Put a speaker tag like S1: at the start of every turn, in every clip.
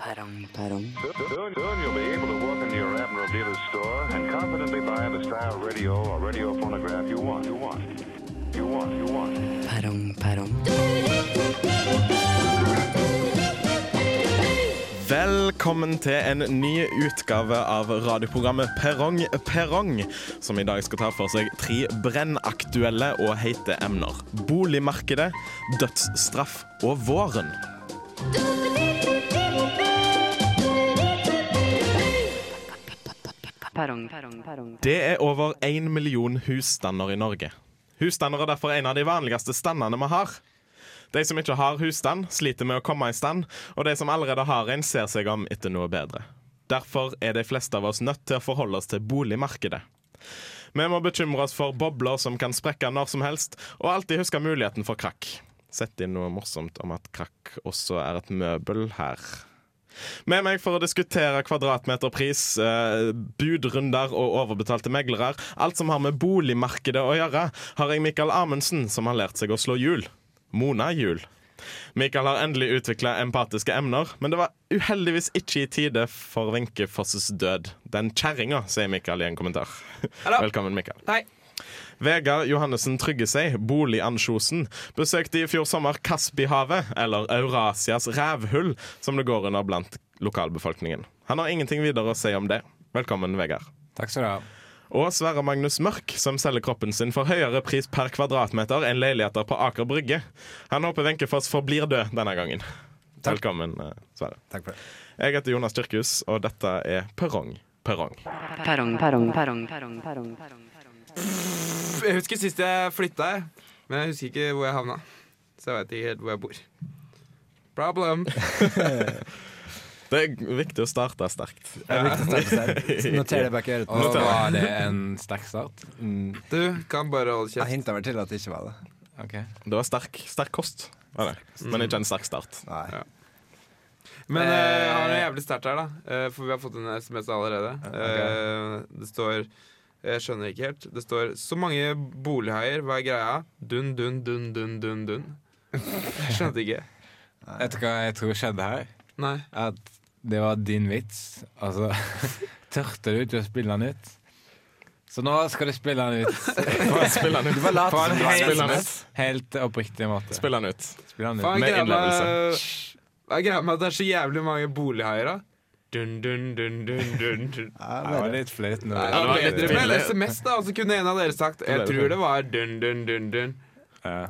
S1: Parang, parang.
S2: Soon, soon you'll be able to walk into your Admiral dealer's store and confidently buy the style radio or radio phonograph you want. You want. You want. You want.
S1: Parang, parang.
S3: Velkommen til en ny utgave av radioprogrammet Perrong Perrong, som i dag skal ta for seg tre brennaktuelle og heite emner. Boligmarkedet, dødsstraff og våren.
S1: Parang, parang, parang.
S3: Det er over én million husstander i Norge. Husstander er derfor en av de vanligste standene vi har. De som ikke har husstand, sliter med å komme i stand, og de som allerede har en, ser seg om etter noe bedre. Derfor er de fleste av oss nødt til å forholde oss til boligmarkedet. Vi må bekymre oss for bobler som kan sprekke når som helst, og alltid huske muligheten for krakk. Sett inn noe morsomt om at krakk også er et møbel her. Med meg for å diskutere kvadratmeterpris, eh, budrunder og overbetalte meglere, alt som har med boligmarkedet å gjøre, har jeg Mikael Amundsen, som har lært seg å slå hjul. Mona Hjul. Mikael har endelig utvikla empatiske emner, men det var uheldigvis ikke i tide for Wenche Fosses død. Den kjerringa, sier Mikael i en kommentar.
S4: Hallo.
S3: Velkommen, Mikael.
S4: Hei.
S3: Vegard Johannessen Tryggeseid, bolig Ansjosen, besøkte i fjor sommer Kaspihavet, eller Eurasias rævhull, som det går under blant lokalbefolkningen. Han har ingenting videre å si om det. Velkommen, Vegard.
S4: Takk skal du ha.
S3: Og Sverre Magnus Mørk, som selger kroppen sin for høyere pris per kvadratmeter enn leiligheter på Aker Brygge. Han håper Wenche Foss forblir død denne gangen.
S4: Takk.
S3: Velkommen, eh, Sverre.
S4: Takk for det.
S3: Jeg heter Jonas Kirkhus, og dette er Perrong. Perrong.
S1: Parang, parang, parang, parang, parang, parang.
S4: Jeg husker sist jeg flytta, jeg. men jeg husker ikke hvor jeg havna. Så jeg veit ikke helt hvor jeg bor. Problem.
S3: Det er viktig å starte sterkt.
S5: Det er viktig å starte seg. Så Noter det bak øret.
S6: Og var det en sterk start? Mm,
S4: Du kan bare holde
S5: Jeg
S4: kjeft.
S5: hinta vel til at det ikke var det.
S6: ok
S3: Det var sterk, sterk kost. var det. Men ikke en sterk start.
S5: Nei.
S4: Ja. Men eh, jeg har noe jævlig sterkt her, da. Eh, for vi har fått en SMS allerede. Eh, det står Jeg skjønner ikke helt. Det står 'Så mange bolighaier, hva er greia?' Dun, dun, dun, dun, dun, dun. Jeg skjønte ikke.
S6: Vet du hva jeg tror skjedde her?
S4: Nei.
S6: At det var din vits. Altså, tørte du ikke å spille den ut? Så nå skal du spille den ut
S3: Spill den ut.
S5: Du var lat.
S6: på en
S5: som du var
S6: helt,
S5: SMS.
S6: helt oppriktig måte.
S3: Spill den ut.
S6: Spill den
S4: Faen,
S6: ut.
S3: Med
S4: greia med,
S3: innlevelse.
S4: Eh, hva er greia med at det er så jævlig mange bolighaier, da? Dun, dun, dun, dun, dun, dun.
S5: Ja,
S6: Det var
S5: det-
S6: litt flaut nå.
S4: Nei,
S3: Ja, det var
S4: det
S3: litt
S4: bedre med
S3: pinlig.
S4: SMS, da. Og så kunne en av dere sagt
S3: ble
S4: Jeg
S3: det
S4: tror det var dun, dun, dun, dun.
S6: Ja.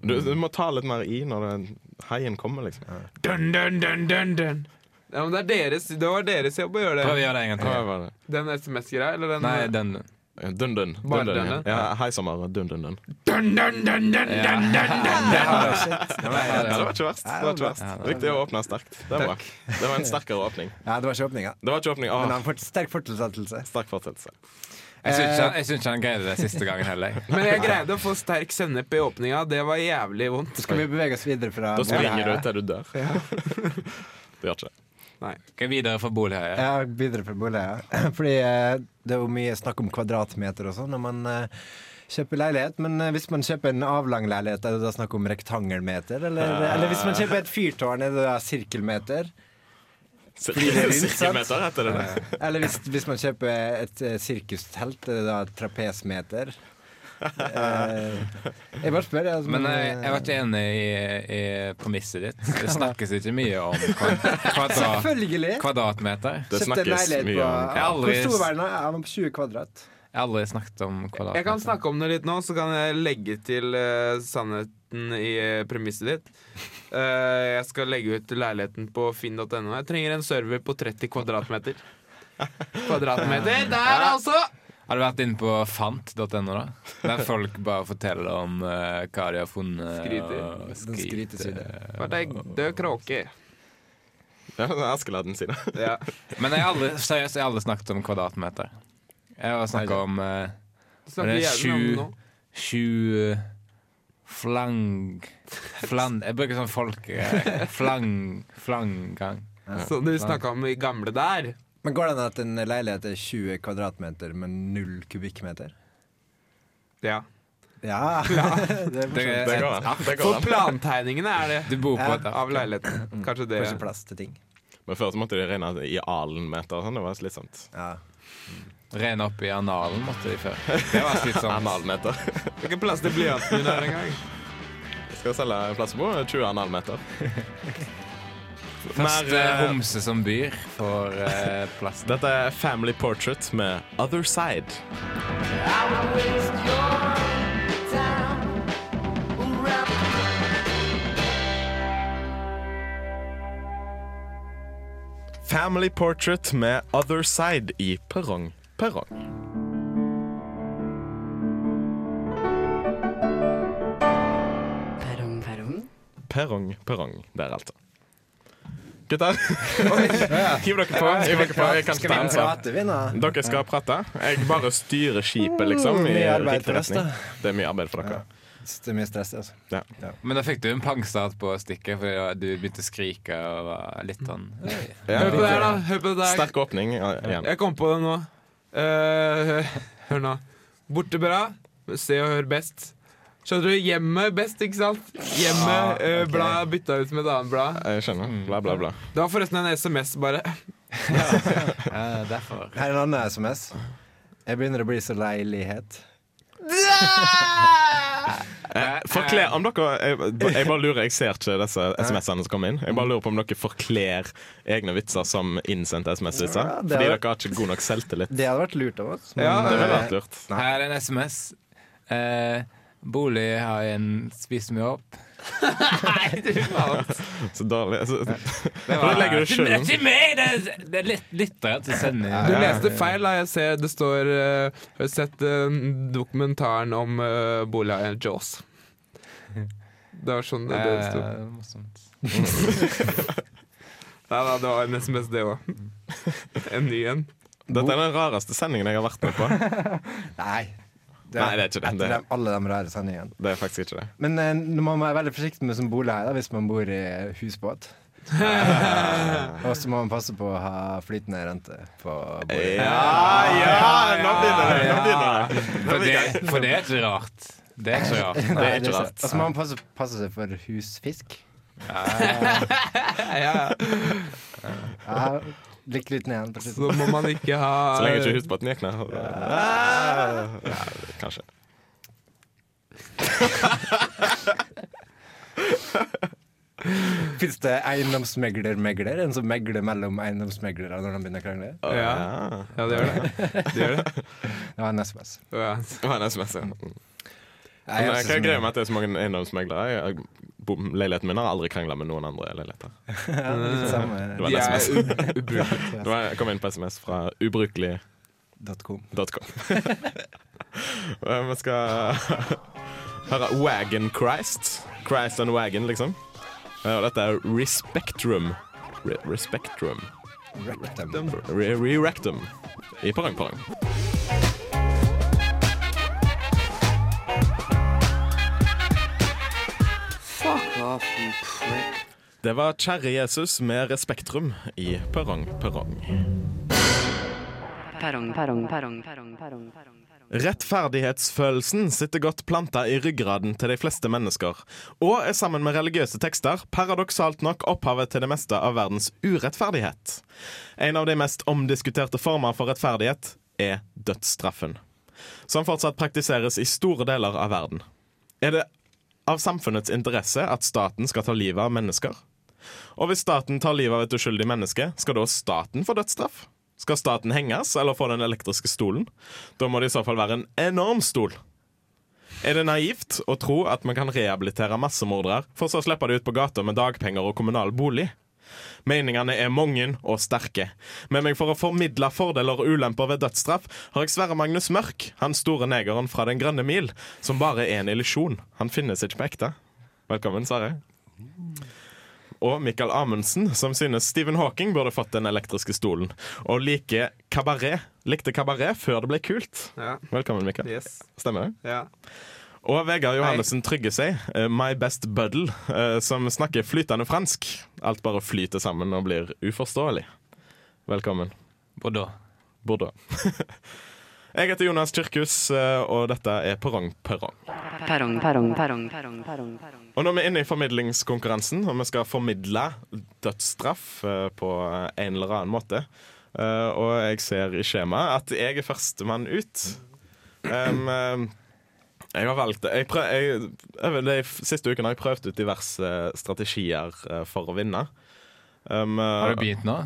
S3: Du, du må ta litt mer i når den haien kommer, liksom.
S4: Dun, dun, dun, dun, dun. Ja, men det, er deres, det var deres jobb å gjøre
S6: Prøv å
S4: det.
S6: gjøre det en gang
S3: Hva
S6: til.
S3: var det?
S4: Den SMS-greia, eller den
S6: Nei, den
S3: Dun-dun.
S4: Bare
S3: Dun-dun, ja.
S4: denne?
S3: Ja, hei, sommer. Dun-dun-dun.
S4: dun, dun, dun, dun, dun, dun, dun.
S3: Ja, det var ikke verst. Det var ikke verst.
S6: Ja, det var
S3: Viktig å åpne sterkt. Det er bra. Det var en sterkere åpning.
S5: Ja, det var ikke åpninga.
S3: Det var ikke åpning.
S5: Men han
S3: Åh,
S5: får sterk fortsettelse.
S3: sterk fortsettelse.
S6: Jeg syns ikke, han- jeg synes ikke han greide det siste gangen heller.
S4: Men jeg greide å få sterk sennep i åpninga. Det var jævlig vondt.
S5: Skal vi bevege oss videre fra
S3: Da springer du til du dør. Det gjør ikke det.
S6: Skal vi videre fra Bolhøya?
S5: Ja, videre fra boliger. ja. Fordi eh, det er jo mye snakk om kvadratmeter og sånn når man eh, kjøper leilighet. Men eh, hvis man kjøper en avlang leilighet, er det da snakk om rektangelmeter? Eller, eller hvis man kjøper et fyrtårn, er det da sirkelmeter?
S3: Sirkelmeter heter det. det.
S5: Eller hvis, hvis man kjøper et eh, sirkustelt, er det da trapesmeter? Eh, jeg bare spør. Altså,
S3: eh,
S6: Men jeg, jeg var ikke enig i, i premisset ditt. Det snakkes ikke mye om kvad- kvadrat,
S5: Selvfølgelig!
S6: kvadratmeter.
S3: Det
S5: Kjøpte en
S3: snakkes
S5: leilighet
S3: mye
S5: på,
S3: om
S6: Jeg har aldri-
S5: Hvor stor var den? Ja, den var på 20 kvadrat.
S6: Jeg har aldri snakket om
S4: Jeg kan
S6: kvadratmeter.
S4: snakke om det litt nå, så kan jeg legge til eh, sannheten i eh, premisset ditt. Eh, jeg skal legge ut leiligheten på finn.no. Jeg trenger en server på 30 kvadratmeter. Kvadratmeter der, altså!
S6: Har du vært inne på fant.no, da? Der folk bare forteller om eh, hva de har funnet.
S4: Skryter.
S6: og
S5: Den skryteside.
S4: Vært ei død kråke.
S3: Ja, det er Askeladden sine.
S4: Ja.
S6: Men jeg har aldri, seriøst, jeg har aldri snakket om kvadratmeter. Jeg har snakket om eh,
S4: Snakker
S6: Det er
S4: jævlig om det nå.
S6: sju Flang... Flan... Jeg bruker sånn folke... Flang... Flanggang.
S4: Som du snakka om i gamle der.
S5: Men går det an at en leilighet er 20 kvadratmeter med null kubikkmeter?
S4: Ja.
S5: Ja! det er
S6: Det
S5: fortsatt
S3: Det
S6: er
S3: går an. Det går
S4: For
S3: an.
S4: plantegningene er det.
S6: Du bor på
S5: Ja.
S6: et
S4: Av leiligheten. Kanskje det.
S5: kanskje plass til ting.
S3: Men før så måtte de regne i alen-meter. og Sånn. Det var slitsomt.
S5: Ja.
S6: Ren opp i analen måtte de før. Det var sånn slitsomt.
S3: Analmeter.
S4: Det er ikke plass til blyanten min her engang.
S3: Skal selge placebo. 20 analmeter.
S6: Første
S3: eh,
S6: homse som byr får eh, plass.
S3: Dette er Family Portrait med Other Side. Family Portrait med Other Side i Perrong Perrong.
S1: Perrong, perrong.
S3: Perrong Perrong der, altså. Gutter, hiv dere på. Hiv dere på. Jeg kan
S5: Skal vi
S3: stanse.
S5: prate, vi, nå?
S3: Dere skal prate. Jeg bare styrer skipet, liksom. I
S5: Mye arbeid
S3: riktig
S5: for oss, da.
S3: retning. Det er mye arbeid for dere.
S5: Det er mye stress, altså.
S3: Ja.
S6: Men da fikk du en pangstart på stikket fordi da du begynte å skrike og var litt sånn «Øy».
S4: Hør på det her, da. Hør på det der.
S3: Sterk åpning ja, igjen.
S4: Jeg kom på det nå. Eh, hør nå. Borte bra, se og hør best. Skjønner du? Hjemmet best, ikke sant? Hjemmet eh, blad bytta ut med et annet blad.
S3: Jeg skjønner. Bla, bla, bla.
S4: Det var forresten en SMS, bare.
S6: Eh, Derfor.
S5: Her er en annen SMS. Jeg begynner å bli så leilighet.
S3: Eh, Forkler om dere jeg, jeg bare lurer, jeg ser ikke disse SMS-ene som kommer inn. Jeg bare lurer på om dere forkler egne vitser som innsendte SMS-vitser.
S5: Ja, det
S3: Fordi dere
S5: er-
S3: har ikke god nok selvtillit.
S5: Det hadde vært lurt av oss. men,
S4: Ja,
S3: Det
S5: eh,
S3: ville vært lurt.
S6: Her er en SMS. Eh, bolig har en spist meg opp.
S3: Så dårlig. Så,
S6: Det
S3: da legger du
S6: Det er
S3: skylden.
S6: ikke meg! Det er, det er litt lyttere til sending.
S4: Du leste feil, da. Jeg ser det står eh, Har du sett eh, dokumentaren om uh, bolighaien Jaws? Det var sånn det,
S3: Eh.
S4: det
S6: eh,
S4: sto. Nei da, det var en SMS, det òg. En ny en.
S3: Dette er den rareste sendingen jeg har vært med på.
S5: Nei.
S3: Nei, det er ikke det.
S5: etter dem- alle de rare sendingene.
S3: Det er faktisk ikke det.
S5: Men eh, nå må man være veldig forsiktig med som bolig her, da, hvis man bor i husbåt. Og så må man passe på å ha flytende rente på bolig.
S3: Ja, ja! Nå begynner det. Nå begynner det.
S6: For det, for det er ikke rart. Det er ikke rart.
S5: Nei,
S3: ikke rart.
S5: Og så må man passe, passe seg for husfisk. Ja, Litt litt ned igjen på slutten.
S4: Så må man ikke ha
S3: Så lenge ikke husbåten gikk ned. Ja, Kanskje.
S5: Fins det eiendomsmegler-megler? En som megler mellom eiendomsmeglere når de begynner å krangle?
S4: Ja.
S3: Ja.
S4: Ja, det gjør det. det, gjør det.
S5: Det var en SMS.
S4: Ja.
S3: Det var en SMS, ja.
S5: Nei,
S3: Men
S5: jeg synes
S3: Hva er
S5: som-
S3: greia med at det er så mange eiendomsmeglere? Jeg- bom- Leiligheten min har aldri krangla med noen andre leiligheter.
S5: Ja, litt samme
S3: eh, Det var
S4: De
S3: en
S4: er
S3: SMS.
S4: u- ubrukelige.
S3: Det var- Jeg kom inn på SMS fra ubrukelig.com.
S5: dot com.
S3: Eh, Vi skal høre Wagon Christ. Christ and Wagon, liksom. Eh, Og dette er Respectrum. Re Respectrum.
S5: Rectum.
S3: Re Re-rectum. I parang parang. Det var Kjære Jesus med Respektrum i Perrong Perrong.
S1: Perrong, perrong, perrong, perrong, perrong, perrong.
S3: Rettferdighetsfølelsen sitter godt planta i ryggraden til de fleste mennesker, og er sammen med religiøse tekster paradoksalt nok opphavet til det meste av verdens urettferdighet. En av de mest omdiskuterte former for rettferdighet er dødsstraffen, som fortsatt praktiseres i store deler av verden. Er det av samfunnets interesse at staten skal ta livet av mennesker? Og hvis staten tar livet av et uskyldig menneske, skal da staten få dødsstraff? Skal staten henges eller få den elektriske stolen? Da må det i så fall være en enorm stol. Er det naivt å tro at man kan rehabilitere massemordere, for så å slippe de ut på gata med dagpenger og kommunal bolig? Meningene er mange og sterke. Med meg for å formidle fordeler og ulemper ved dødsstraff har jeg Sverre Magnus Mørk, han store negeren fra Den grønne mil, som bare er en illusjon. Han finnes ikke på ekte. Velkommen, Sverre. Og Michael Amundsen, som synes Stephen Hawking burde fått den elektriske stolen. Og like kabaret, likte kabaret før det ble kult.
S4: Ja.
S3: Velkommen, Mikael.
S4: Yes.
S3: Stemmer det?
S4: Ja.
S3: Og Vegard Johannessen trygger seg. eh, My best buddle, eh, som snakker flytende fransk. Alt bare flyter sammen og blir uforståelig. Velkommen,
S6: Bordeaux.
S3: Bordeaux. Jeg heter Jonas Kirkhus, eh, og dette er Perrong Perrong.
S1: Perrong, perrong, perrong, perrong, perrong, perrong.
S3: Og når vi er inne i formidlingskonkurransen, og vi skal formidle dødsstraff eh, på en eller annen måte, eh, og jeg ser i skjemaet at jeg er førstemann ut Em, em, Jeg har valgt jeg prøv, jeg, over De f- siste ukene har jeg prøvd ut diverse strategier eh, for å vinne. Em, eh,
S6: Har du begynt nå?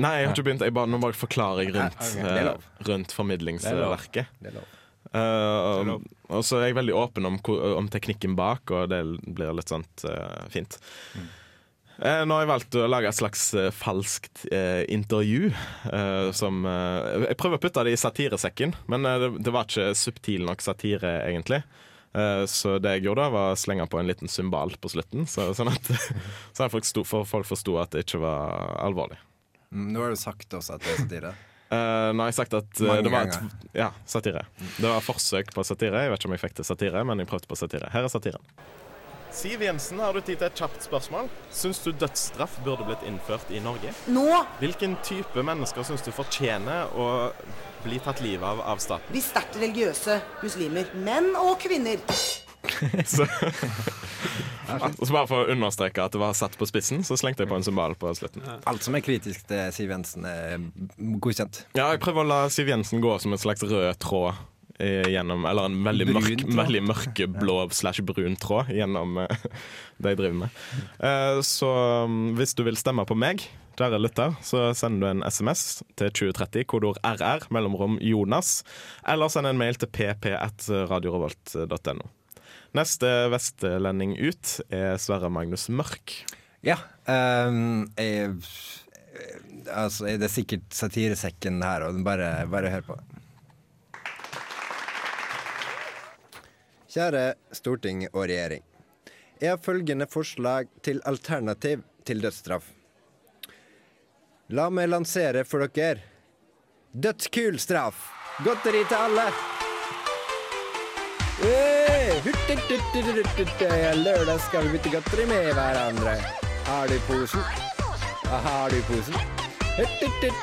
S3: Nei, jeg har ikke begynt. Jeg bare, nå bare forklarer jeg rundt,
S6: Nei, ok.
S5: Det er lov.
S3: eh, rundt formidlingsverket.
S5: Det er lov.
S3: Eh, og- og så er jeg veldig åpen om, hvor- om teknikken bak, og det blir litt sånt eh, fint.
S5: Mm.
S3: Eh, nå har jeg valgt å lage et slags eh, falskt eh, intervju. eh, som eh, Jeg prøver å putte det i satiresekken, men eh, det, det var ikke subtil nok satire, egentlig. Eh, så det jeg gjorde, da var å slenge på en liten symbal på slutten, så, sånn at, sånn at folk, sto, for folk forsto at det ikke var alvorlig.
S5: Mm, Nå har du sagt også at det er satire.
S3: Eh, nå har jeg sagt at eh,
S5: Mange
S3: det var et,
S5: ganger.
S3: ja, satire. Det var forsøk på satire. Jeg vet ikke om jeg fikk til satire, men jeg prøvde på satire. Her er satiren. Siv Jensen, har du tid til et kjapt spørsmål? Syns du dødsstraff burde blitt innført i Norge?
S7: Nå!
S3: Hvilken type mennesker syns du fortjener å bli tatt livet av av staten?
S7: Vi sterkt religiøse muslimer. Menn og kvinner.
S3: Så, og så bare for å understreke at det var satt på spissen, så slengte jeg på en symbal på slutten.
S5: Alt som er kritisk til Siv Jensen, er godkjent.
S3: Ja, jeg prøver å la Siv Jensen gå som en slags rød tråd eh, gjennom Eller en veldig,
S5: Brun
S3: mørk,
S5: tråd.
S3: veldig mørkeblå slash brun tråd gjennom eh, det jeg driver med. Eh, så mm, hvis du vil stemme på meg, kjære lytter, så sender du en SMS til 2030, kodeord RR, mellomrom Jonas, eller send en mail til pp1radiorevolt.no. Neste vestlending ut er Sverre Magnus Mørk.
S5: Ja. ehm, jeg, altså, det er sikkert satiresekken her, og den bare, bare hør på. Kjære storting og regjering. Jeg har følgende forslag til alternativ til dødsstraff. La meg lansere for dere dødskul straff! Godteri til alle! Hey! Lørdag skal vi bytte godteri med hverandre. Har du posen? Ja, Har du posen?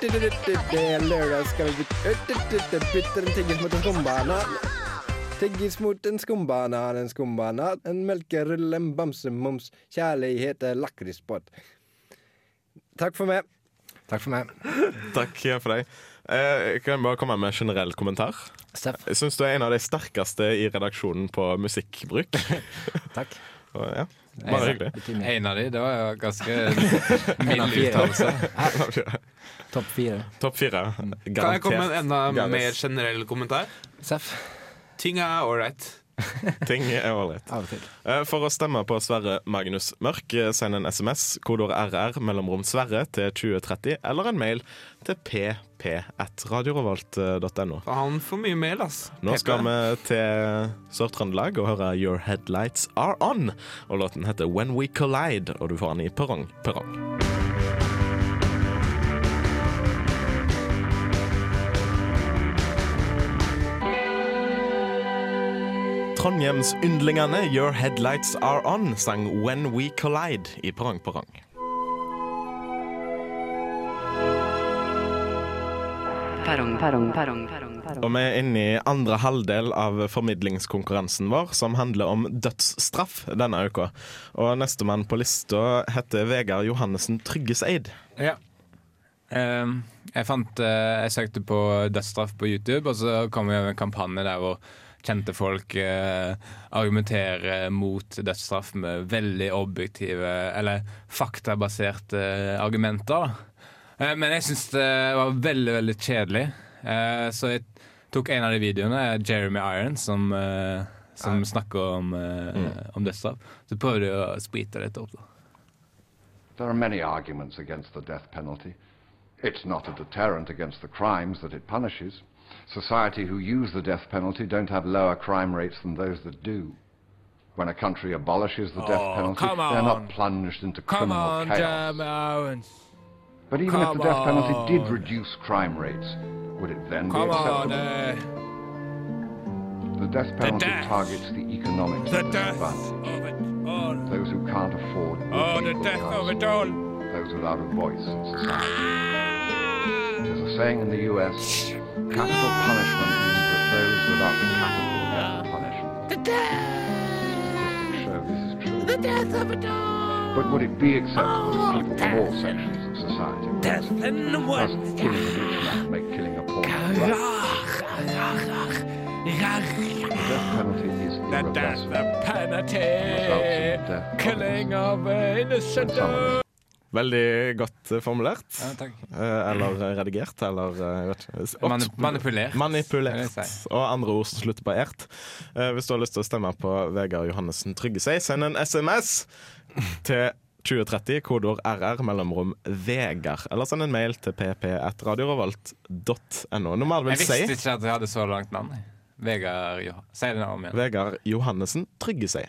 S5: Lørdag skal vi bytte Bytte en tyggis mot en skumbanan. Tyggis mot en skumbanan, en skumbanan, en melkerull, en bamsemums. Kjærlighet er lakrispott. Takk for meg. Takk for meg.
S3: Takk for deg. Eh, kan jeg bare komme med en generell kommentar?
S5: Steff.
S3: Jeg syns du er en av de sterkeste i redaksjonen på musikkbruk.
S5: Takk.
S3: Og ja, Bare hyggelig.
S6: En av de, det var jo ganske mild uttalelse.
S5: Topp fire.
S3: Topp fire. Garantert.
S4: Kan jeg komme med en enda
S3: Garantert.
S4: mer generell kommentar?
S5: Seff.
S4: Ting er ålreit.
S3: Ting er ålreit.
S5: Av og til.
S3: Eh, For å stemme på Sverre Magnus Mørk, eh, send en SMS, kodeord RR, mellomrom Sverre til 2030, eller en mail til pp1radiorevolt.no.
S4: Han får mye mail, ass.
S3: Nå skal
S4: Pepe.
S3: vi til Sør-Trøndelag og høre Your Headlights Are On. Og låten heter When We Collide, og du får den i perrong, perrong. Trondheims yndlingene Your Headlights Are On sang When We Collide i perrong, perrong.
S1: Perrong, perrong, perrong, perrong, perrong.
S3: Og vi er inne i andre halvdel av formidlingskonkurransen vår, som handler om dødsstraff denne uka. Og nestemann på lista heter Vegard Johannessen Tryggeseid.
S6: Ja. Ehm, jeg fant eh, Jeg søkte på dødsstraff på YouTube, og så kom jeg over en kampanje der hvor kjente folk eh, argumenterer mot dødsstraff med veldig objektive eller faktabaserte argumenter. da. Eh, men jeg syns det var veldig, veldig kjedelig. Eh, så jeg tok en av de videoene, eh, Jeremy Irons, som, eh, som snakker om, eh, om dødsstraff. Så prøvde jeg å sprite det litt opp. da
S8: There are many arguments against the death penalty. It's not a deterrent against the crimes that it punishes. Society who use the death penalty don't have lower crime rates than those that do. When a country abolishes the
S6: Oh,
S8: death penalty,
S6: come
S8: they're
S6: on.
S8: not plunged into
S6: Come
S8: criminal
S6: on,
S8: chaos.
S6: Jeremy Irons!
S8: But even if
S6: come
S8: the death penalty
S6: on.
S8: did reduce crime rates, would it then
S6: Come
S8: be
S6: on,
S8: acceptable?
S6: uh,
S8: the death penalty
S6: death.
S8: targets the economics
S6: the
S8: of the
S6: death
S8: advanced,
S6: of it all.
S8: those who can't afford good
S6: Oh, the
S8: legal
S6: death of
S8: counsel.
S6: it all.
S8: those without a voice in society. There's a saying in the US capital punishment is the those without the capital death punishment. So this is true. But would it be acceptable to people from all sections of society? Does the religion act make killing a poor man right? The death penalty is irreversible. Results of death
S6: Killing of innocent
S8: penalty.
S3: Veldig godt eh, formulert.
S6: Ja, takk.
S3: Eh, eller redigert, eller eh, jeg vet ikke. S-
S6: Mani-
S3: opp-
S6: manipulert, vil jeg
S3: Manipulert.
S6: si.
S3: Og andre ord som slutter på ert. Eh, hvis du har lyst til å stemme på Vegard Johannessen Tryggesei, send en SMS til 2030, kodeord RR, mellomrom Vegard. Eller send en mail til pp1radiorevolt.no. Nå må det vel
S6: Jeg visste
S3: si
S6: ikke at jeg hadde så langt navn. jeg. Vegard Johan. Si det navnet mitt.
S3: Vegard Johannessen Tryggesei.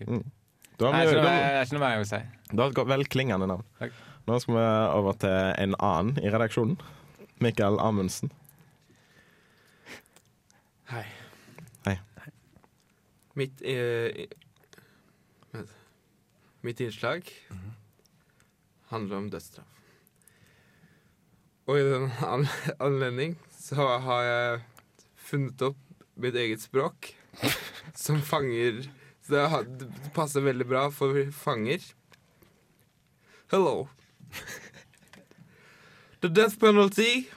S6: kult.
S3: Mm. Da
S6: Det
S3: har
S6: er
S3: vi,
S6: ikke noe-
S3: da,
S6: det er ikke noe mer jeg vil si.
S3: da har det gått vel klingende navn.
S6: Takk.
S3: Nå skal vi over til en annen i redaksjonen. Mikael Amundsen.
S4: Hei.
S3: Hei.
S4: Mitt eh, vent. Mitt innslag handler om dødsstraff. Og i den an- anledning så har jeg funnet opp mitt eget språk som fanger Så det har- det passer veldig bra for fanger. Hello. The death penalty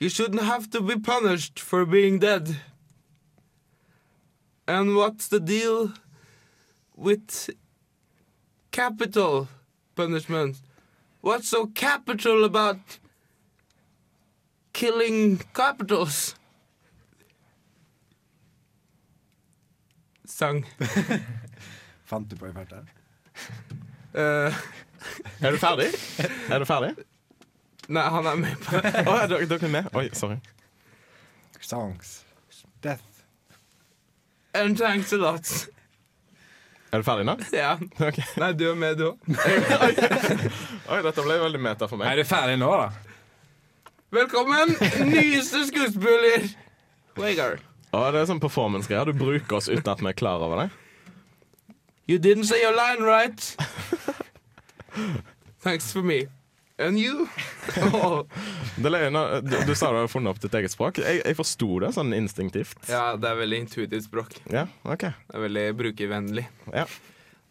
S4: You shouldn't have to be punished for being dead. And what's the deal with capital punishment? What's so capital about killing capitals? Sang.
S5: Fant du på i farta?
S4: Eh,
S3: Er du ferdig? Er du ferdig?
S4: nei, han er med på
S3: Å, er dere dere er med? Oi, sorry.
S5: Songs. Death.
S4: And thanks a lot.
S3: Er du ferdig nå?
S4: Ja.
S3: Ok.
S4: Nei, du er med, du òg.
S3: Oi, dette ble veldig meta for
S6: Er
S3: meg.
S6: du ferdig nå, da?
S4: Velkommen, nyeste skuespiller Vegard.
S3: Å, det er sånn performance-greier. Du bruker oss uten at vi er klar over det.
S4: You didn't say your line right. Thanks for me. And you? Åh.
S3: det er løgn, du, du sa du hadde funnet opp ditt eget språk. Jeg, jeg forsto det sånn instinktivt.
S4: Ja, det er veldig intuitivt språk.
S3: Ja, ok.
S4: Det er Veldig brukervennlig.
S3: Ja.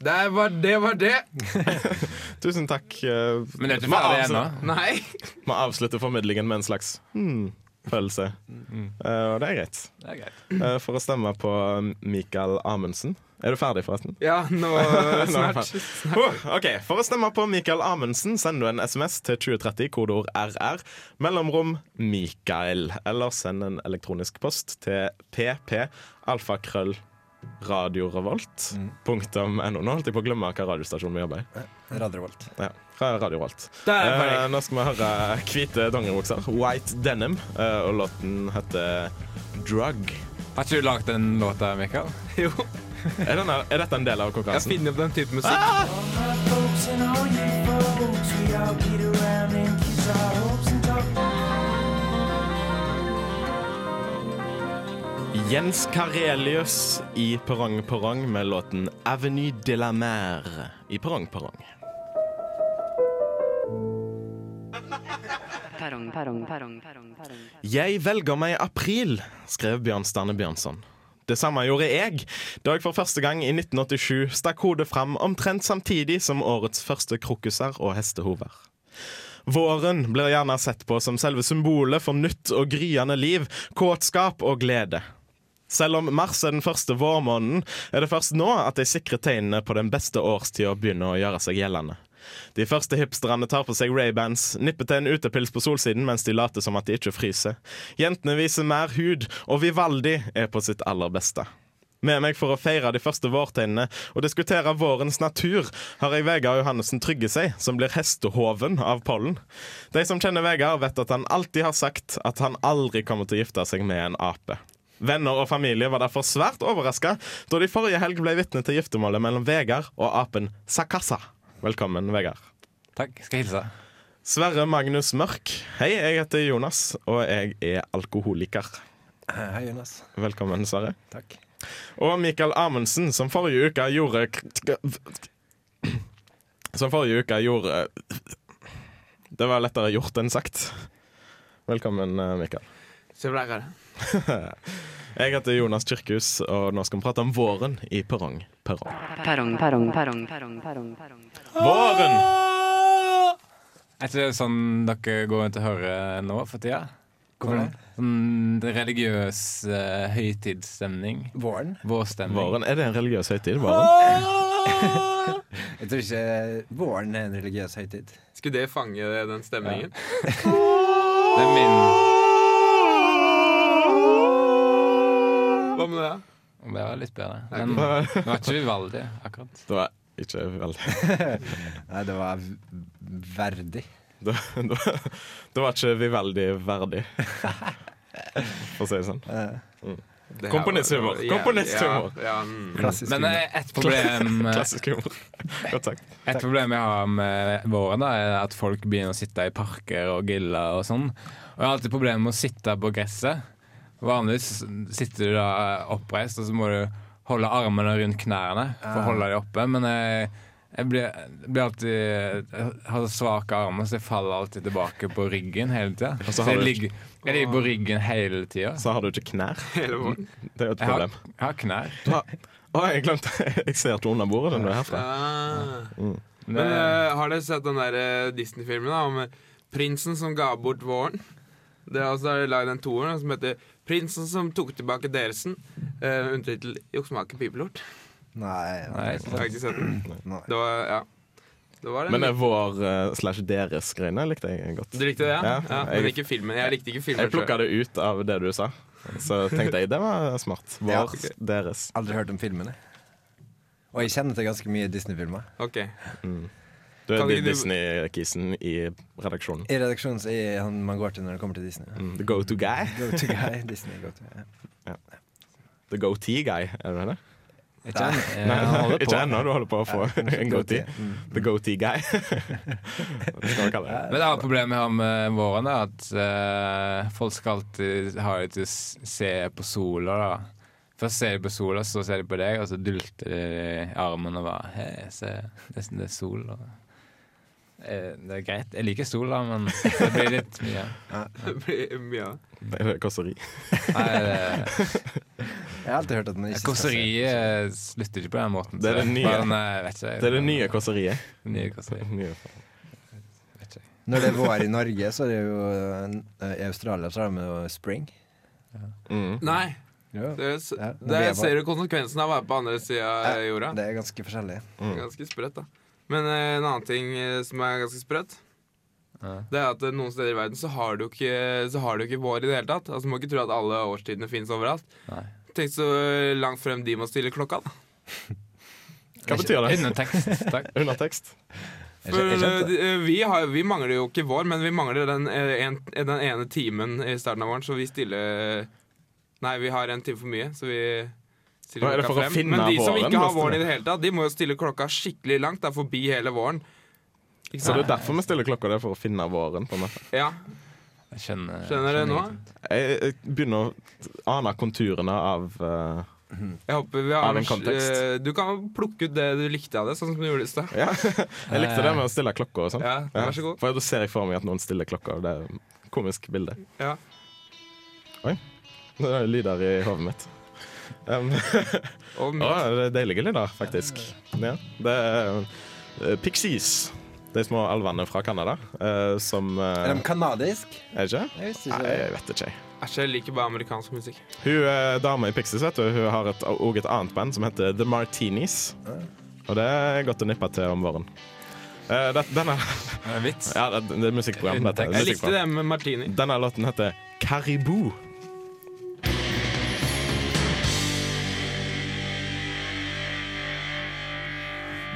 S4: Der var det var det!
S3: Tusen takk. eh,
S6: Men det er
S3: vi
S6: ikke ferdig
S3: avslut-
S6: ennå.
S4: Nei.
S3: Vi avslutter formidlingen med en slags hmm-følelse. Eh, og det er greit.
S6: Mm. Det er greit.
S3: Eh, for å stemme på Mikael Amundsen. Er du ferdig, forresten?
S4: Ja, nå snart.
S3: Huh, ok, For å stemme på Mikael Amundsen sender du en SMS til 2030, kodeord RR, mellomrom Mikael. Eller send en elektronisk post til pp alfakrøll
S4: Mm.
S3: radiorevolt.no. Nå holdt jeg på å glemme hvilken radiostasjon vi jobber i.
S5: Radiovolt.
S3: Ja, fra Radio Revolt.
S4: Der er jeg ferdig.
S3: Eh, nå skal vi høre hvite dongeribukser. White Denim. eh, og låten heter Drug.
S6: Har ikke du lagd den låta, Mikael?
S4: Jo,
S3: Er, denne, er dette en del av
S4: jeg
S3: konkurransen?
S4: finner opp den type musikk.
S3: Jens Karelius i Perrong Perrong med låten Avenue de la Mer i Perrong Perrong.
S1: Perrong, perrong, perrong, perrong, perrong.
S3: Jeg velger meg april, skrev Bjørn Stjerne Bjørnson. Det samme gjorde jeg da jeg for første gang i 1987 stakk hodet fram omtrent samtidig som årets første krokuser og hestehover. Våren blir gjerne sett på som selve symbolet for nytt og gryende liv, kåtskap og glede. Selv om mars er den første vårmåneden, er det først nå at de sikre tegnene på den beste årstida begynner å gjøre seg gjeldende. De første hipsterne tar på seg Ray-Bans, nipper til en utepils på solsiden mens de later som at de ikke fryser. Jentene viser mer hud, og Vivaldi er på sitt aller beste. Med meg for å feire de første vårtegnene og diskutere vårens natur, har jeg Vegard Johannessen Trygge seg, som blir hestehoven av pollen. De som kjenner Vegard, vet at han alltid har sagt at han aldri kommer til å gifte seg med en ape. Venner og familie var derfor svært overraska da de forrige helg ble vitne til giftermålet mellom Vegard og apen Sakasa. Velkommen, Vegard.
S6: Takk. Skal jeg hilse.
S3: Sverre Magnus Mørk. Hei, jeg heter Jonas, og jeg er alkoholiker.
S5: Hei, Jonas.
S3: Velkommen, Sverre.
S5: Takk.
S3: Og Mikael Amundsen, som forrige uke gjorde Som forrige uke gjorde Det var lettere gjort enn sagt. Velkommen, eh, Mikael.
S4: Se på deg, Kari.
S3: Jeg heter Jonas Kirkhus, og nå skal vi prate om våren i Perrong Perrong.
S1: Perrong, perrong, perrong, perrong, perrong, perrong.
S3: Våren!
S6: Er ikke det sånn dere går rundt og hører nå for tida? Sånn, sånn religiøs eh, høytidsstemning.
S5: Våren?
S6: Vårstemning.
S3: Våren, Er det en religiøs høytid? Våren?
S5: Jeg tror ikke våren er en religiøs høytid.
S4: Skulle det fange den stemningen?
S6: Det er min
S4: Hva med det? da?
S6: Det var litt bedre. Men det var ikke Vivaldi, akkurat.
S3: Det var ikke veldig
S5: Nei, det var v- verdig.
S3: Det, det, var- det var ikke Vivaldi verdig, for å si det sånn.
S4: Det her
S3: Komponisthumor.
S4: var- ja,
S3: Komponisthumor.
S4: Ja, ja, mm.
S5: Klassisk.
S6: Men eh, et problem eh,
S3: Klassisk humor. Godt sagt.
S6: Et problem jeg har med våren, da, er at folk begynner å sitte i parker og griller og sånn. Og jeg har alltid problemer med å sitte på gresset. Vanligvis sitter du da oppreist, og så må du holde armene rundt knærne for å holde dem oppe. Men jeg, jeg, blir, blir alltid jeg har så svake armer, så jeg faller alltid tilbake på ryggen hele tida.
S3: så
S6: Så
S3: har
S6: jeg
S3: du-
S6: ligger, jeg ligger på ryggen hele tida.
S3: Så har du ikke knær.
S4: Hele våren.
S3: Det er jo et
S6: Jeg har,
S3: problem.
S6: jeg har knær.
S3: Du har- Å, jeg glemte Jeg ser to under bordet når du er herfra.
S4: Ah.
S3: Mm.
S4: Men eh, har dere sett den der eh, Disney-filmen da, om eh, prinsen som ga bort våren? Det er også lagd en toer da, som heter 'Prinsen som tok tilbake deresen'. Uh, Undertittel 'Joksmaker pipelort'.
S5: Nei,
S6: Nei, ikke
S4: Jeg har
S6: sant.
S4: ikke sett den. Det var, ja. det var
S3: Mm.
S4: det.
S3: Men det er vår eh, slash deres greiene likte jeg godt.
S4: du likte det, ja? ja,
S3: Ja,
S4: men
S3: jeg-
S4: ikke filmen. Jeg likte ikke filmen.
S3: Jeg plukka det ut av det du sa, så tenkte jeg det var smart. Vår,
S5: Ja, ok.
S3: deres.
S5: aldri hørt om filmene. Og jeg kjenner til ganske mye Disney-filmer.
S4: selv. Ok.
S3: Du er
S4: Kan ikke du-
S3: Disney-kisen i redaksjonen.
S5: I redaksjonen så er han man går til når det kommer til Disney.
S3: Mm, The go-to guy.
S5: Go to guy, Disney go to guy.
S3: The go-tee guy, er det det?
S6: Ikke en- eh,
S3: Nei,
S6: han holder
S3: ikke
S6: på.
S3: ennå. Du holder på å få en goatee. The goatee guy. Det skal vi kalle det.
S6: Men det er problemet jeg har med våren, er at eh, folk skal alltid ha det til å s- se på sola. da. Først ser de på sola, så ser de på deg, og så dulter de i armen og bare Hei, se, det, det er sol. Og, Eh, det er greit. Jeg liker sol, da, men det blir litt mye.
S4: Det blir mye av det.
S3: Det er Kåseri.
S6: Nei, det,
S5: Jeg har alltid hørt at den ikke skal se-
S6: Kåseriet slutter ikke på den måten.
S3: Det er det nye.
S6: Bare, nei, eh, vet ikke,
S3: Det er det nye kåseriet.
S6: nye kåseriet.
S3: Nye.
S6: Vet ikke.
S5: Når det er vår i Norge, så er det jo eh, I Australia så er det jo spring.
S3: Mm.
S4: Nei!
S5: Ja.
S4: Det, s-
S5: Ja,
S4: det
S5: vi er på-
S4: ser du konsekvensen av å være på andre sida av jorda.
S5: Det er ganske forskjellig.
S4: Ganske sprøtt, da. Men eh, en annen ting eh, som er ganske sprøtt,
S6: Ja.
S4: det er at eh, noen steder i verden så har du ikke, så har du ikke vår i det hele tatt. Altså Må ikke tro at alle årstidene finnes overalt.
S6: Nei.
S4: Tenk så eh, langt frem de må stille klokka, da.
S3: Hva betyr det?
S6: Undertekst, takk.
S3: Undertekst.
S5: Jeg
S4: For
S5: skjø- jeg
S4: eh,
S5: skjønte.
S4: de- eh, vi, har, vi mangler jo ikke vår, men vi mangler den, eh, en, den ene timen i starten av våren, så vi stiller eh, Nei, vi har en time for mye, så vi stiller
S3: Hva er det for å
S4: klokka frem.
S3: finne
S4: Men de som
S3: våren,
S4: ikke har
S3: nesten?
S4: våren i det hele tatt, de må jo stille klokka skikkelig langt. Det er forbi hele våren. Ikke
S3: Så det
S4: sant?
S3: er derfor vi stiller klokka, det er for å finne våren. på en måte.
S4: Ja,
S6: Jeg skjønner,
S4: Skjønner du nå?
S3: Jeg, jeg begynner å ane konturene av eh,
S4: Jeg håper vi
S3: Av
S4: har
S3: en kontekst.
S4: eh, Du kan plukke ut det du likte av det, sånn som du gjorde i stad.
S3: Ja, jeg likte det med å stille klokka og sånn.
S4: Ja, vær så god.
S3: For da ser jeg for meg at noen stiller klokka, og det er et komisk bilde.
S4: Ja.
S3: Oi. Det er lyder i hodet mitt. Um,
S4: Og
S3: å, det er deilige lyder, faktisk. Ja, det er eh, pixies. De små alvene fra Canada eh, som eh,
S5: Er de kanadisk?
S3: Er det ikke?
S5: Jeg visste
S3: Nei,
S5: ikke det.
S3: jeg vet ikke. jeg.
S4: æsj, jeg liker bare amerikansk musikk.
S3: Hun eh, dama i Pixies vet du, hun har et, og et annet band som heter The Martinis. Og det er godt å nippe til om våren. Eh, det, denne,
S6: Det er en vits.
S3: ja, det, det er musikkprogram. Dette,
S4: Jeg
S3: musikkprogram.
S4: likte det med martini.
S3: Denne låten heter Caribou.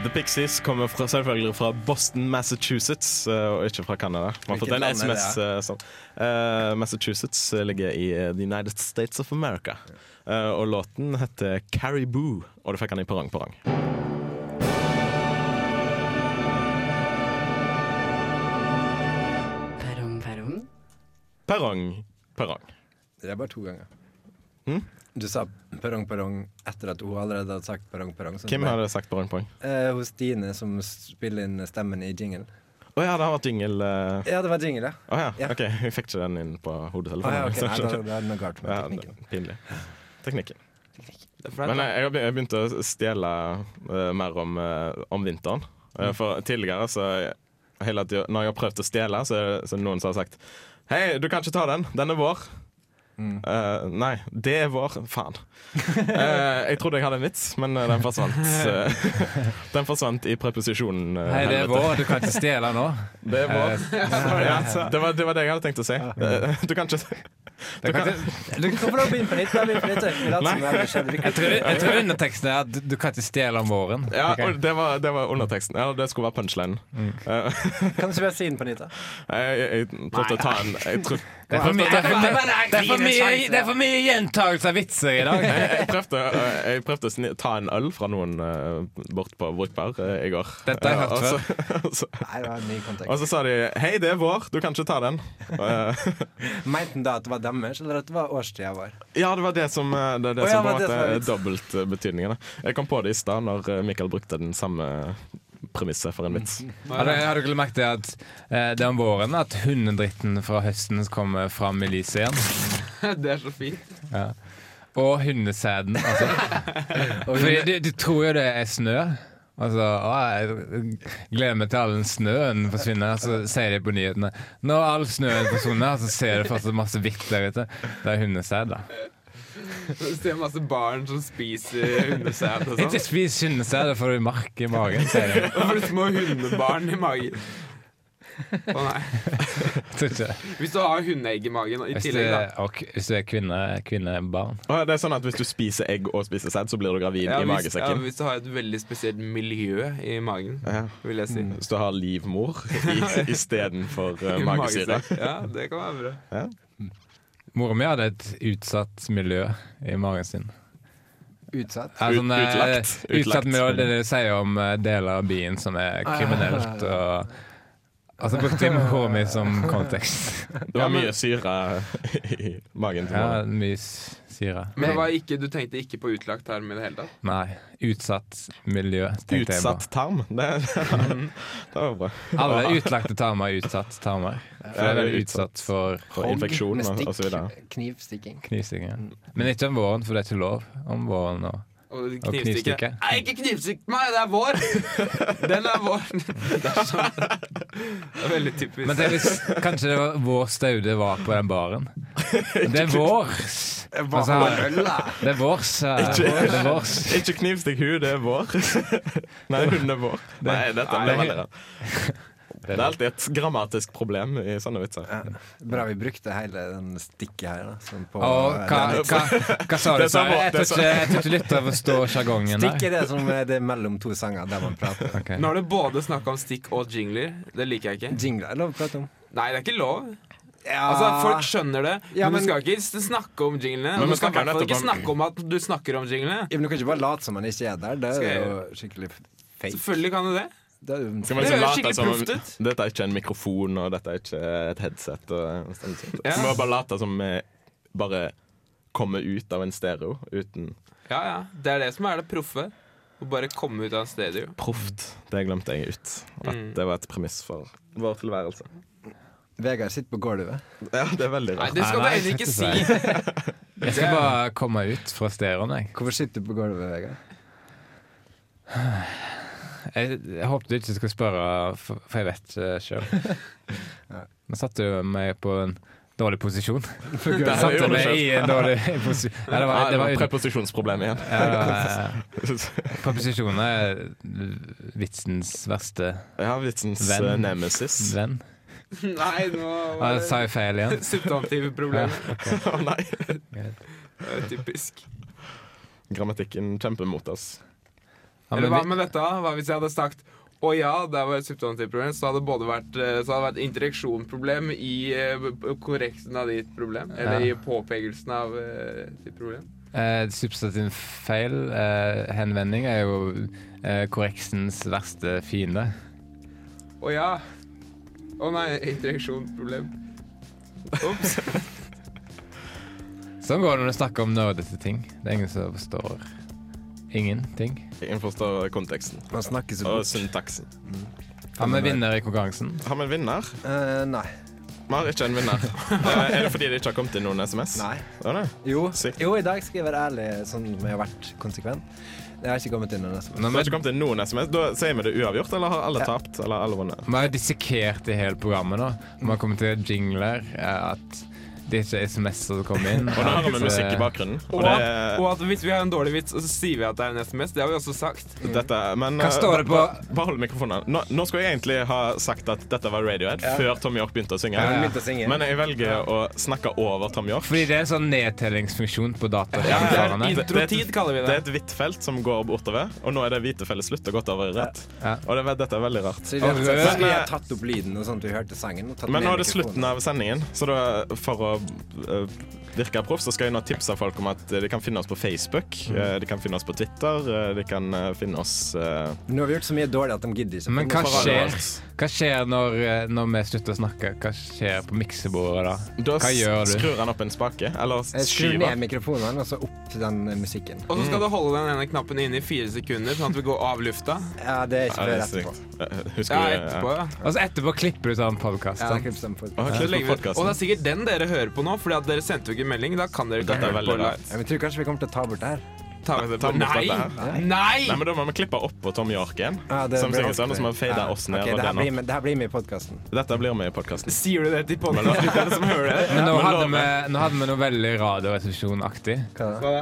S3: The Pixies kommer fra, selvfølgelig fra Boston, Massachusetts, eh, og ikke fra Canada. Vi har fått en
S5: land er det?
S3: SMS eh, sånn. Eh, Massachusetts ligger i eh, The United States of America. Eh, og låten heter Caribou, og du fikk den i Parang Parang.
S1: Perrong, perrong.
S3: Parang Parang.
S5: Det er bare to ganger.
S3: Hm?
S5: Du sa perrong, perrong etter at hun allerede hadde sagt perrong, perrong. sånn
S3: Hvem
S5: som jeg-
S3: hadde sagt Parang Parang?
S5: Eh, hos Stine, som spiller inn stemmen i jingle.
S3: Å Å ja, det har vært jingle eh.
S5: Ja, det var jingle, ja.
S3: Å ja.
S5: Ja.
S3: OK, jeg fikk ikke den inn på
S5: Ah,
S3: hodetelefonen.
S5: ja, ok. Nei, da,
S3: Så-
S5: da er det noe galt med
S3: Ja, det-
S5: teknikken.
S3: pinlig. Teknikken.
S4: Det er flaut,
S3: Men
S4: da.
S3: eh, jeg har be- jeg begynte å stjele eh, mer om, eh, om vinteren.
S5: Mm.
S3: Eh, for tidligere, så eh, hele tida, når jeg har prøvd å stjele, så er det så er det noen som har sagt Hei, du kan ikke ta den. Den er vår.
S5: Mm.
S3: Eh, nei, det er vår. Faen. Eh, jeg trodde jeg hadde en vits, men eh, den forsvant. Eh, den forsvant i preposisjonen. eh,
S6: Hei, det er
S3: helvete.
S6: vår, du kan ikke stjele nå.
S3: Det, er
S5: Eh,
S3: vår. ja, det, var, det var det jeg hadde tenkt å si. Eh, Du kan ikke
S6: Du kan
S3: kan-
S6: ikke,
S5: Du kan få lov å begynne på nytt. da, begynne på nytt. Vi later som det aldri skjedde. Vi kan-
S6: jeg tror, jeg tror underteksten er at du- du kan ikke stjele om våren.
S3: Ja,
S6: Ok.
S3: og det var, det var underteksten. Ja, det skulle være punchlinen. Eh,
S5: Mm. Kan du ikke bare si den på nytt, da?
S3: Jeg, jeg, jeg prøvde å ta en jeg, tror-
S6: Det er for mye, det er for mye- det er for mye, det er for mye gjentakelse av vitser i dag.
S3: jeg, jeg prøvde, eh, jeg prøvde å sni- ta en øl fra noen eh, bort på Brukbar eh, i går.
S6: Dette har jeg
S3: Eh,
S6: hørt
S3: og så- og så-
S5: Nei, det var en ny kontekst.
S3: Og så sa de 'hei, det er vår, du kan ikke ta den'. Eh,
S5: Mente han da at det var deres, eller at det var årstida vår?
S3: ja, det var det som, eh, det, er det
S5: Å, ja,
S3: som på
S5: var
S3: en
S5: det
S3: måte
S5: som var
S3: er
S5: vitsen.
S3: dobbeltbetydningen. da. Jeg kom på det i stad, når eh, Mikael brukte den samme premisset for en vits.
S6: Har du- har du ikke merket det at eh, det er om våren at hundedritten fra høsten kommer fram i lyset igjen?
S4: Det er så fint.
S6: Og hundesæden, altså. Fordi du, du tror jo det er snø. Altså, å, jeg gleder meg til all den snøen forsvinner. Så sier de på nyhetene Når all snøen forsvinner, så ser du fortsatt masse hvitt der ute. Det er hundesæd, da.
S4: Du ser masse barn som spiser hundesæd og
S6: Ikke
S4: sånn.
S6: spis hundesæd, da får du mark i magen. Sier de.
S4: Og får du små hundebarn i magen. Å nei.
S6: Jeg Tror ikke.
S4: Hvis du har hundeegg i magen i
S6: Hvis du,
S4: tillegg, da.
S6: og, hvis du er kvinne, kvinnebarn.
S3: Og det er sånn at Hvis du spiser egg og spiser sæd, så blir du gravid
S4: Ja,
S3: i
S4: hvis, ja,
S3: magesekken.
S4: hvis du har et veldig spesielt miljø i magen,
S3: Ja. Mm.
S4: vil jeg si.
S3: Hvis du har livmor istedenfor uh,
S4: I
S3: magesyre.
S4: magesekk. Ja, det kan være bra.
S6: Mora mi hadde et utsatt miljø i magen sin.
S5: Utsatt?
S6: Ja,
S3: Ut-
S6: sånn, eh,
S3: utlagt. Utlagt.
S6: Utsatt med å- det de sier om eh, deler av byen som er kriminelt. Og, altså brukte jeg håret mitt som kontekst.
S3: Det var mye syre i magen til
S6: Ja,
S3: Mona.
S6: mye s- syre.
S4: Men det var ikke, du tenkte ikke på utlagt tarm i det hele tatt?
S6: Nei. Utsatt miljø, tenkte jeg
S3: Utsatt
S6: bare.
S3: tarm. Det, det var bra.
S6: Alle utlagte tarmer er utsatt tarmer. For det er veldig utsatt for
S3: For infeksjon og, og så videre.
S5: Knivstikking.
S6: knivstikking. ja. Men ikke om våren, for det er ikke lov om våren nå.
S4: Og
S6: Og
S4: knivstikke.
S6: knivstikke.
S4: Nei, ikke knivstikk meg! Det er vår! Den er vår. Det er, sånn. det er veldig typisk.
S6: Men tenk hvis kanskje det var vår staude var på den baren. Det er vårs! Altså, det er vårs. eh, Det er vårs.
S3: Ikke knivstikk hun, det er vår. Nei, hun er vår. Nei, dette
S6: Nei.
S3: blir veldig rart. Det er alltid et grammatisk problem i sånne vitser.
S5: Bra vi brukte hele den stikket her, da. Sånn på,
S6: Og hva, hva, hva sa du?
S3: Det sa
S6: Sverre? Jeg
S3: Morten,
S6: tror ikke, jeg tror ikke lytter forstår sjargongen
S5: Stikk
S6: der.
S5: er det som er det mellom to sanger der man prater.
S6: Ok.
S4: Nå har du både snakka om stikk og jingler. Det liker jeg ikke.
S5: Jingler er lov å prate om.
S4: Nei, det er ikke lov.
S5: Ja.
S4: Altså, Folk skjønner det,
S5: Ah. Ja,
S4: men
S5: men-
S4: du skal ikke s- snakke om jinglene.
S3: Men
S4: Og
S3: vi
S4: du skal i
S3: snakker
S4: hvert fall ikke
S3: nettopp om-
S4: snakke om at du snakker om jinglene.
S5: Ja, men du kan ikke bare late som man ikke er der. Det
S4: Skal
S5: er
S4: jeg
S5: jo skikkelig fake.
S4: Selvfølgelig kan du det.
S5: Det er jo-
S3: Skal man
S4: Det
S3: liksom
S4: høres
S3: late
S4: skikkelig
S3: som om
S4: proft ut.
S3: dette er ikke en mikrofon, og dette er ikke et headset? Og sånn. sånt.
S4: Ja.
S3: Så må man bare late som vi bare kommer ut av en stereo uten
S4: Ja, ja. Det er det som er det proffe. Å bare komme ut av en studio.
S3: proft. Det glemte jeg ut. At
S4: Mm.
S3: det var et premiss for vår tilværelse.
S5: Vegard sitter på gulvet.
S3: Ja, det er veldig
S4: Nei,
S3: rart.
S4: det skal du
S6: Nei, nei,
S4: heller ikke si.
S6: jeg Jeg skal bare komme ut fra stereoen, jeg.
S5: Hvorfor sitter du på gulvet, Vegard?
S6: jeg. Jeg håpet du ikke skulle spørre, for for jeg vet ikke sjøl. Nå satte du meg på en dårlig posisjon.
S3: Det
S6: Jeg
S3: her
S6: satte
S3: gjorde
S6: meg
S3: du
S6: i
S3: selv.
S6: en dårlig posisjon. Ja, det var, det var, ut-
S3: preposisjonsproblem igjen.
S6: ja, det var, preposisjoner er vitsens verste
S3: Jeg har vitsens
S6: Venn.
S3: eh, nemesis.
S6: venn.
S4: Nei, nå
S6: Ja, jeg sa jeg feil igjen?
S4: Substantive problemer.
S3: Å nei.
S4: Det er Typisk.
S3: Grammatikken kjemper mot oss.
S6: Ja,
S4: Eller
S6: men
S4: hva
S6: vi-
S4: med dette? Hva hvis jeg hadde sagt å ja, det var et substantivt problem, så hadde det både vært, eh, så hadde det vært interreksjonproblem i eh, korreksen av ditt problem. Eller
S6: Ja.
S4: i påpekelsen av eh, ditt problem.
S6: Eh, substantiv feil, eh, henvending, er jo eh, korreksens verste fiende.
S4: Å ja. Å nei, interreksjonproblem. Ops.
S6: Sånn går det når du snakker om nerdete ting. Det er ingen som forstår ingenting.
S3: Jeg forstår konteksten
S5: Man snakker så
S3: og
S5: bort.
S3: syntaksen.
S6: Han er vinner i konkurransen.
S3: Har vi en vinner?
S5: Eh, nei.
S3: Vi har ikke en vinner. Eh, er det fordi det ikke har kommet inn noen SMS?
S5: Nei.
S3: Å, nei.
S5: Jo.
S3: Sykt.
S5: jo, i dag skal jeg være ærlig, sånn som jeg har vært konsekvent. Jeg har ikke kommet inn i neste
S3: Det har ikke kommet inn noen SMS. Da sier vi det uavgjort, eller har alle tapt? Eller alle vunnet?
S6: Vi har jo dissekert det hele programmet. da Vi har kommet til jingler. eh, At det ikke er SMS-er som kommer inn. eh,
S3: Og nå hører vi musikk i bakgrunnen.
S4: Og,
S3: Og
S4: at, og
S3: det,
S4: at hvis vi har en dårlig vits, og så sier vi at det er en SMS. Det har vi også sagt.
S3: dette, men
S6: Hva
S3: eh,
S6: står det
S3: ba-
S6: på?
S3: ba- Bare hold mikrofonen. Nå, nå skulle jeg egentlig ha sagt at dette var Radiohead, før Tom York begynte å synge.
S5: Han begynte å synge.
S3: Men jeg velger å snakke over Tom York.
S6: Fordi det er sånn nedtellingsfunksjon på
S3: Ja,
S6: dataskjermene.
S3: det er-
S4: Introtid kaller
S3: Det
S4: vi
S3: er
S4: det.
S3: et hvitt felt som går bortover, og nå er det hvite fellet slutt og gått over i rødt.
S6: Ja.
S3: Og det, dette er veldig rart.
S5: Så vi har,
S6: Og
S5: så
S6: rød-
S5: vi har tatt opp lyden og sånn at vi hørte sangen. Og tatt
S3: Men
S5: ned
S3: nå er det
S5: mikrofonen.
S3: slutten av sendingen, så da, for å eh, virke proff, så skal jeg nå tipse folk om at eh, de kan finne oss på Facebook, eh, de kan finne oss på Twitter, eh, de kan eh, finne oss eh,
S5: Nå har vi gjort så mye dårlig at de gidder ikke.
S6: Men hva
S3: på
S6: skjer,
S3: radioen.
S6: hva skjer når, eh, når vi slutter å snakke? Hva skjer på miksebordet da?
S3: Da
S6: Hva gjør du?
S3: skrur han opp en spake, eller
S5: Jeg skrur
S3: skyver.
S5: ned mikrofonen og så opp den eh, musikken.
S4: Og så
S3: Mm.
S4: skal du holde den ene knappen inne i fire sekunder, sånn at vi går av lufta.
S5: Ja, det er
S3: Ja, det
S5: ikke før
S3: er
S5: etterpå.
S3: sykt. Eh, Husker
S4: Ja,
S3: du
S4: etterpå, ja.
S6: Og så Altså, etterpå klipper du sånn podkast.
S5: Ja, det er klippet dem for-
S3: Å,
S5: Ja,
S3: klipp.
S4: Så legger vi-
S3: podcasten.
S4: Og det er sikkert den dere hører på nå, Fordi at dere sendte jo ikke melding. Da kan dere ikke
S3: Dette er
S4: ha hørt på
S3: veldig rart.
S4: live.
S5: men jeg tror kanskje vi kommer til å ta bort det her.
S4: Ta med det
S3: Ta
S4: på.
S3: med dette
S4: Nei!
S3: her.
S4: Nei!
S3: Nei, men Da må vi klippe opp på Tom York igjen.
S5: Ja, det
S3: som
S5: blir
S3: sikkert sånn,
S5: vanskelig.
S3: og så må vi fade
S5: Ja.
S3: oss ned
S5: Ok,
S3: og
S5: det her
S3: den
S5: blir
S3: opp.
S5: med- Det her blir med i podkasten.
S3: Dette blir med i podkasten.
S4: Sier du det til podkastlytterne som hører det?
S6: Men nå
S3: Men
S6: hadde,
S3: nå-
S6: vi, nå hadde vi noe veldig radioresepsjonaktig.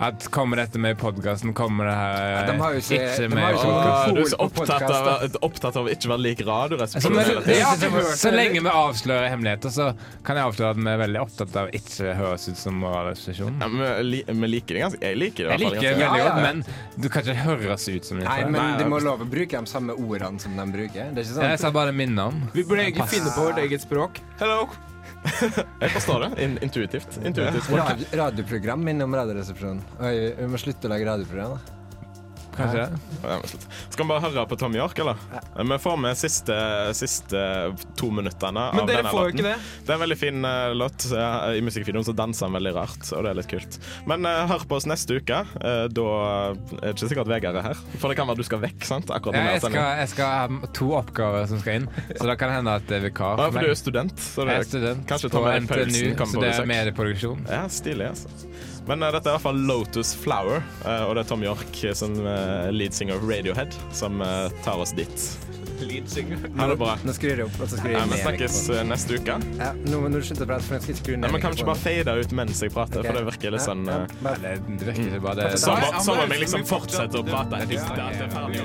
S6: At kommer dette med i podkasten? Kommer det her
S5: Ja, de har jo ikke- de har
S6: med
S5: jo
S6: i
S5: ikke
S6: podcasten?
S5: monopol
S3: Ah, Du er så
S5: på
S3: opptatt av, opptatt av å ikke være lik
S6: Så,
S3: radioresepsjonen
S6: men,
S3: hele
S6: jeg
S3: tiden.
S6: synes det var- så lenge vi avslører hemmeligheter, så kan jeg avsløre at vi er veldig opptatt av å ikke høres ut som radioresepsjon.
S3: Ja, men vi li- vi liker det ganske Jeg liker det. i
S6: Jeg
S3: hvert fall
S6: liker det
S3: ganske.
S6: veldig
S5: ja,
S6: godt,
S5: ja.
S6: men du kan ikke høres ut som
S5: Nei,
S6: det.
S5: men
S4: Nei,
S5: du må
S4: ja.
S5: love å bruke de samme ordene som de bruker. Det er ikke
S6: Jeg
S5: sånn
S6: sa bare minne om.
S4: Vi burde egentlig finne på vårt eget språk.
S3: Hello! Jeg forstår det. In intuitivt. Intuitivt.
S5: radio, radioprogram minner om Radioresepsjonen. Oi, vi må slutte å lage radioprogram. da.
S6: Kanskje det?
S3: Ja, men slutt. Skal vi bare høre på Tom York, eller? Vi får med siste, siste to minuttene av
S4: Men dere
S3: denne
S4: får jo
S3: låten.
S4: ikke det.
S3: Det er en veldig fin eh, låt. Eh, I musikkvideoen så danser han veldig rart, og det er litt kult. Men eh, hør på oss neste uke. Eh, da er det ikke sikkert Vegard er her. For det kan være du skal vekk, sant? Akkurat
S6: Jeg
S3: nå.
S6: skal, jeg skal ha to oppgaver som skal inn, så da kan det hende at det er vikar.
S3: Ja,
S6: for
S3: for
S6: meg.
S3: du er jo student. Så det
S6: Jeg er student
S3: Kanskje
S6: på
S3: Tom Erik
S6: NTNU,
S3: Paulsen kommer
S6: så
S3: på
S6: det er
S3: besøk.
S6: medieproduksjon.
S3: Ja, stilig, altså. Men eh, dette er i hvert fall Lotus Flower, eh, og det er Tom York eh, som eh, lead singer of Radiohead som eh, tar oss dit. Ha det bra.
S5: Nå skrur jeg opp, og så skrur jeg
S3: Ja,
S5: ned.
S3: vi snakkes
S5: mikrofonen.
S3: eh, neste uke.
S5: Ja, nå må du slutte å prate, for jeg skal skru ned.
S3: Ja, men kan vi ikke bare
S5: mikrofonen.
S3: fade ut mens jeg prater,
S5: Ok.
S3: for det virker litt sånn
S5: Ja, ja,
S3: eh,
S5: bare-
S6: Det det virker ikke bare det.
S3: Som om- som om jeg liksom fortsetter å prate helt til det er ferdig.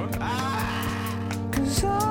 S9: So